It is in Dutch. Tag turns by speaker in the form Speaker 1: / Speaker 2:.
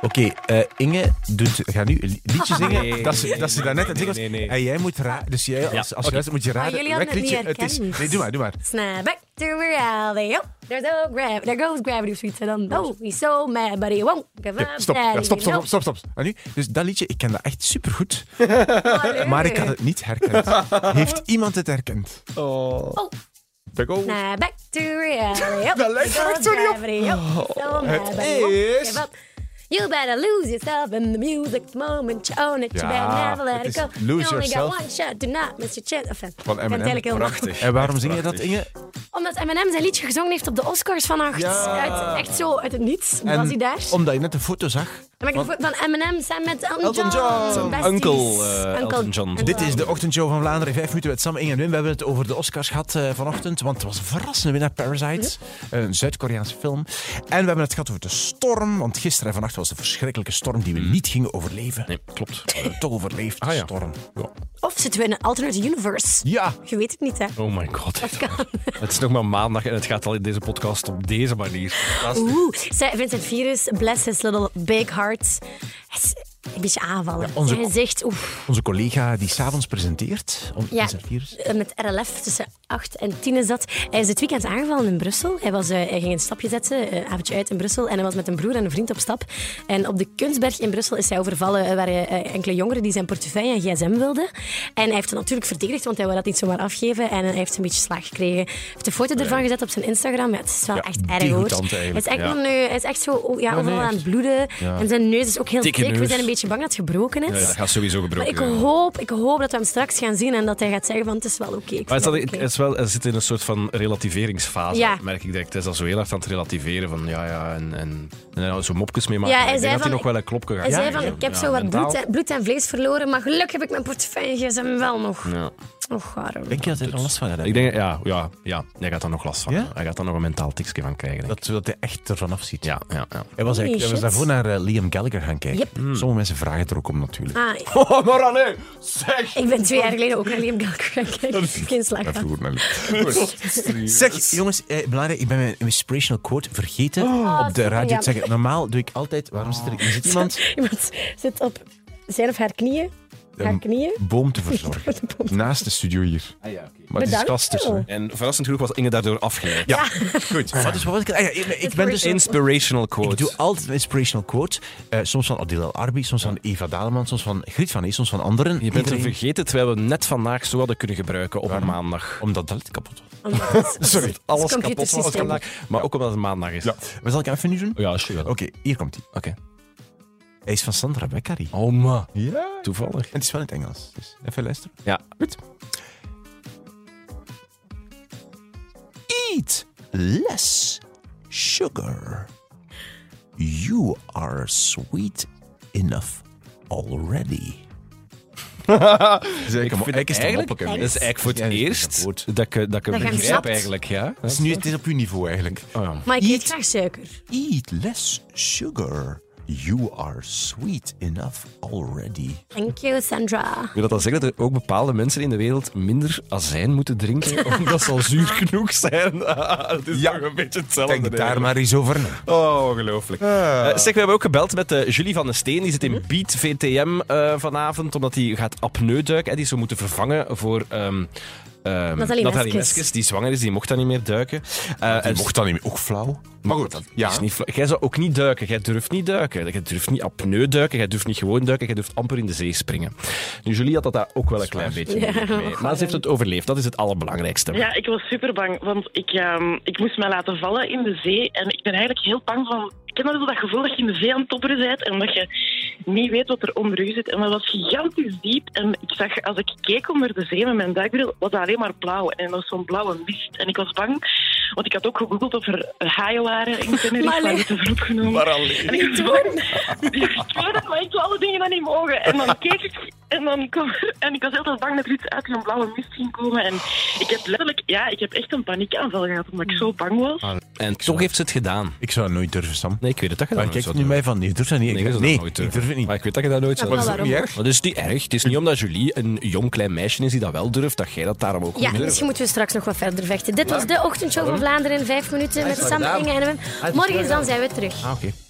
Speaker 1: Oké, eh, Inge doet, gaat nu een liedje zingen.
Speaker 2: Nee,
Speaker 1: dat ze,
Speaker 2: nee,
Speaker 1: dat ze daarnet
Speaker 2: nee, nee,
Speaker 1: aan het
Speaker 2: nee,
Speaker 1: zingen was.
Speaker 2: nee.
Speaker 1: En jij moet raden. Dus jij, als, als je
Speaker 2: oké.
Speaker 1: luistert, moet je raden.
Speaker 3: jullie hadden
Speaker 1: welk
Speaker 3: het niet
Speaker 1: liedje het is.
Speaker 3: herkend.
Speaker 1: Nee, doe maar, doe maar.
Speaker 3: Snap back to reality. Oh, there's no gravity. There goes gravity of sweet. En dan, oh, he's so mad, but he won't give
Speaker 1: Oké,
Speaker 3: up.
Speaker 1: stop, ja,
Speaker 3: daddy,
Speaker 1: stop,
Speaker 3: no.
Speaker 1: stop, stop, stop. En nu? Dus dat liedje, ik ken dat echt supergoed.
Speaker 3: Oh,
Speaker 1: Maar ik had het niet herkend. Heeft iemand het herkend?
Speaker 3: Oh,
Speaker 2: Daar komen we.
Speaker 3: snap back to reality. Oh,
Speaker 1: Dat lijkt
Speaker 3: there
Speaker 1: er echt
Speaker 3: goes
Speaker 1: zo niet op.
Speaker 3: gravity. Oh, he's so mad, but he won't
Speaker 2: is-
Speaker 3: give up. You better lose yourself in the music moment. You own it. You
Speaker 1: Ja,
Speaker 3: better never let
Speaker 1: het
Speaker 3: it
Speaker 1: is
Speaker 3: go.
Speaker 1: lose
Speaker 3: you only
Speaker 1: yourself.
Speaker 3: got one shot. Do not miss your chance. Enfin,
Speaker 1: Van
Speaker 3: ik ben
Speaker 1: Eminem.
Speaker 3: eigenlijk heel
Speaker 2: Prachtig.
Speaker 1: En waarom
Speaker 2: Echt
Speaker 1: zing je dat,
Speaker 2: prachtig.
Speaker 1: Inge?
Speaker 3: Omdat Eminem zijn liedje gezongen heeft op de Oscars vannacht. Uit, echt zo uit het niets.
Speaker 1: En
Speaker 3: was hij daar.
Speaker 1: Omdat je net een foto zag.
Speaker 3: En ik heb een foto van Eminem samen met Elton,
Speaker 1: Elton John.
Speaker 3: Zijn besties.
Speaker 2: Uncle, eh, Elton John.
Speaker 1: Dit is de ochtendshow van Vlaanderen. Vijf minuten met Sam, Inge en Wim. We hebben het over de Oscars gehad eh, vanochtend. Want het was een verrassende winnaar, Parasite. Een Zuid-Koreaanse film. En we hebben het gehad over de storm. Want gisteren en vannacht was de verschrikkelijke storm die we niet gingen overleven.
Speaker 2: Mhm. Nee, klopt.
Speaker 1: We hebben toch overleefd,
Speaker 2: Ah,
Speaker 1: de
Speaker 2: ja.
Speaker 1: storm. Ja.
Speaker 3: Of zitten we in een alternate universe?
Speaker 1: ja.
Speaker 3: Je weet het niet, hè?
Speaker 2: Oh my god. Het is nog maar maandag en het gaat al in deze podcast op deze manier. Fantastisch.
Speaker 3: Oeh, zij- Vincent Virus, bless his little big heart. Hij is een beetje aanvallen.
Speaker 1: onze-
Speaker 3: Hij zegt, oef,
Speaker 1: Onze collega die s'avonds presenteert. Om,
Speaker 3: Ja.
Speaker 1: is het virus?
Speaker 3: eh, met RLF tussen 8 en 10 is dat. Hij is dit weekend aangevallen in Brussel. Hij, was, eh, hij ging een stapje zetten, eh, een avondje uit in Brussel. En hij was met een broer en een vriend op stap. En op de Kunstberg in Brussel is hij overvallen. Er waren eh, enkele jongeren die zijn portefeuille en gsm wilden. En hij heeft het natuurlijk verdedigd, want hij wil dat niet zomaar afgeven. En hij heeft een beetje slag gekregen. Hij heeft een foto ervan gezet op zijn Instagram. Ja, het is wel echt erg hoor.
Speaker 2: degoutant eigenlijk,
Speaker 3: Hij is echt
Speaker 2: ja.
Speaker 3: nog nu, hij is echt zo oh, ja, overal
Speaker 1: echt.
Speaker 3: aan het bloeden. En zijn neus is ook heel
Speaker 2: Dikke
Speaker 3: dik. We
Speaker 2: neus.
Speaker 3: zijn een beetje bang dat het gebroken is.
Speaker 2: Ja, dat gaat sowieso
Speaker 3: Maar
Speaker 2: gebroken
Speaker 3: ik
Speaker 2: worden.
Speaker 3: hoop, ik hoop dat we hem straks gaan zien en dat hij gaat zeggen van het is wel oké. ik
Speaker 2: Maar
Speaker 3: vind
Speaker 2: het,
Speaker 3: het
Speaker 2: is
Speaker 3: oké.
Speaker 2: dat- het is wel, het zit in een soort van relativeringsfase,
Speaker 3: Ja.
Speaker 2: merk ik direct. Hij is al zo heel hard aan het relativeren van ja, ja, en, en, en daar zo mopjes mee maken.
Speaker 3: Ja, hij
Speaker 2: ik
Speaker 3: zei
Speaker 2: denk dat hij
Speaker 3: van-
Speaker 2: nog wel een klopje gaat
Speaker 3: Hij zei
Speaker 2: krijgen.
Speaker 3: van ik heb
Speaker 2: Ja,
Speaker 3: zo wat
Speaker 2: mentaal.
Speaker 3: bloed en, bloed en vlees verloren, maar gelukkig heb ik mijn portefeuille gsm wel nog.
Speaker 2: Ja.
Speaker 3: Och, arm.
Speaker 1: Denk je dat hij er last van gaat
Speaker 2: Ik
Speaker 1: hebben?
Speaker 2: denk, ja, ja, ja, hij gaat daar nog last van.
Speaker 1: Ja?
Speaker 2: Hij gaat daar nog een mentaal tikje van krijgen. denk ik.
Speaker 1: Dat, dat hij echt ervan afziet.
Speaker 2: Ja, ja, ja.
Speaker 1: Hij was, eigenlijk, hij was
Speaker 3: shit.
Speaker 1: daarvoor naar eh, Liam Gallagher gaan kijken.
Speaker 3: Yep.
Speaker 1: Sommige mensen vragen er ook om natuurlijk.
Speaker 3: Ah,
Speaker 2: Oh, maar nee, zeg!
Speaker 3: ik ben twee jaar geleden ook naar Liam Gallagher gaan kijken. Geen slag
Speaker 1: Even
Speaker 3: van.
Speaker 1: goed, Zeg, jongens, eh, belangrijk, ik ben mijn inspirational quote vergeten op de
Speaker 3: super
Speaker 1: radio te
Speaker 3: jammer.
Speaker 1: zeggen. Normaal doe ik altijd... Waarom zit er... Er zit iemand
Speaker 3: Iemand zit op zijn of haar knieën. Haar
Speaker 1: een
Speaker 3: knieën.
Speaker 1: boom te verzorgen. Naast de studio hier.
Speaker 2: Ah, ja, oké.
Speaker 1: Maar het is
Speaker 3: Bedankt
Speaker 1: kast tussen.
Speaker 3: wel.
Speaker 1: hè.
Speaker 2: En verrassend genoeg was Inge daardoor afgeleid.
Speaker 1: Ja, goed. Wat is, wat was ik... Ah, ja, ik, ik ben dus...
Speaker 2: Inspirational quote.
Speaker 1: Ik doe altijd een inspirational quote. Eh, soms van Adil El Arbi, soms van Eva Daleman, soms van Griet van Ees, soms van anderen.
Speaker 2: Je bent er
Speaker 1: Iedereen-
Speaker 2: vergeten, terwijl we hem net vandaag zo hadden kunnen gebruiken op een maandag.
Speaker 1: Omdat dat het kapot was.
Speaker 3: Omdat het-
Speaker 2: Sorry,
Speaker 3: het
Speaker 2: alles kapot
Speaker 3: computersysteem.
Speaker 2: was vandaag. Maar ook omdat het maandag is. Oh
Speaker 1: Ja. Maar zal ik hem even nu doen? Oké,
Speaker 2: ja sure. Oké.
Speaker 1: hier komt hij. Hij is van Sandra Beccari.
Speaker 2: Oh, ma.
Speaker 1: Ja.
Speaker 2: Toevallig.
Speaker 1: En het is wel in het Engels. Dus even luisteren.
Speaker 2: Ja.
Speaker 1: Goed. Eat less sugar. You are sweet enough already.
Speaker 2: Ik vind eigenlijk, dat is eigenlijk voor het
Speaker 1: Ja, dat is
Speaker 2: eerst
Speaker 1: een woord.
Speaker 2: dat ik, eh, dat ik hem
Speaker 3: je hem
Speaker 2: begrijp
Speaker 3: snapt.
Speaker 2: eigenlijk, ja.
Speaker 1: is nu, het is op uw niveau eigenlijk.
Speaker 2: Oh,
Speaker 3: Maar ik eet
Speaker 1: Eat.
Speaker 3: graag suiker.
Speaker 1: Eat less sugar. You are sweet enough already.
Speaker 3: Thank you, Sandra.
Speaker 2: Wil dat dan zeggen dat er ook bepaalde mensen in de wereld minder azijn moeten drinken, omdat ze al zuur genoeg zijn? Ah, Het is
Speaker 1: Ja.
Speaker 2: toch een beetje hetzelfde.
Speaker 1: Denk daar
Speaker 2: eigenlijk.
Speaker 1: maar eens over na.
Speaker 2: Oh, ongelooflijk.
Speaker 1: Ah.
Speaker 2: Eh, zeg, we hebben ook gebeld met eh, Julie van den Steen. Die zit in Beat VTM eh, vanavond, omdat hij gaat apneuduiken. En die zou moeten vervangen voor... ehm ehm,
Speaker 3: Nathalie Meskes.
Speaker 2: Meskes, die zwanger is, die mocht dan niet meer duiken. Eh,
Speaker 1: Die
Speaker 2: en-
Speaker 1: mocht dan niet meer. Ook flauw. Maar goed, ja.
Speaker 2: is niet vla- jij zou ook niet duiken. Jij durft niet duiken. Jij durft niet apneu duiken. Jij durft niet gewoon duiken. Jij durft amper in de zee springen. Nu, Julie had dat daar ook wel een klein beetje moeilijk mee. Maar ze heeft het overleefd. Dat is het allerbelangrijkste.
Speaker 4: Ja, ik was super bang, want ik, ehm, ik moest mij laten vallen in de zee. En ik ben eigenlijk heel bang van. Ik ken dat wel, dat gevoel dat je in de zee aan het topperen bent en dat je niet weet wat er onder je zit. En dat was gigantisch diep. En ik zag, als ik keek onder de zee met mijn duikbril, was dat alleen maar blauw. En dat was zo'n blauwe mist. En ik was bang, want ik had ook gegoogeld of er haaien waren in Tenerife,
Speaker 3: Maar
Speaker 4: maar
Speaker 3: nee.
Speaker 4: niet te vroeg genomen.
Speaker 2: alleen.
Speaker 4: En ik doe ik weet het, maar ik doe alle dingen dan niet mogen. En dan keek ik en, dan kwam, en ik was altijd bang dat er iets uit een blauwe mist ging komen. En ik heb letterlijk, ja, ik heb echt een paniekaanval gehad omdat ik zo bang was.
Speaker 2: En toch heeft ze het gedaan.
Speaker 1: Ik zou het nooit durven, Sam.
Speaker 2: Nee, ik weet het dat je
Speaker 1: Maar
Speaker 2: dat nooit
Speaker 1: kijk
Speaker 2: zou
Speaker 1: nu
Speaker 2: doen.
Speaker 1: mij van, je durft dat niet.
Speaker 2: Nee, ik, zou dat
Speaker 1: nee,
Speaker 2: nooit
Speaker 1: ik
Speaker 2: durven.
Speaker 1: durf het niet.
Speaker 2: Maar ik weet dat je dat nooit zou
Speaker 3: wel
Speaker 2: doen.
Speaker 3: waarom?
Speaker 1: niet erg?
Speaker 2: Maar dat is niet erg. Het is niet omdat Julie een jong klein meisje is die dat wel durft, dat jij dat daarom ook
Speaker 3: Ja,
Speaker 2: moet durven.
Speaker 3: misschien moeten we straks nog wat verder vechten. Dit was de ochtendshow van Vlaanderen in vijf minuten met Sam, Inge en Wim. Morgen dan zijn we terug.
Speaker 1: Ah, oké.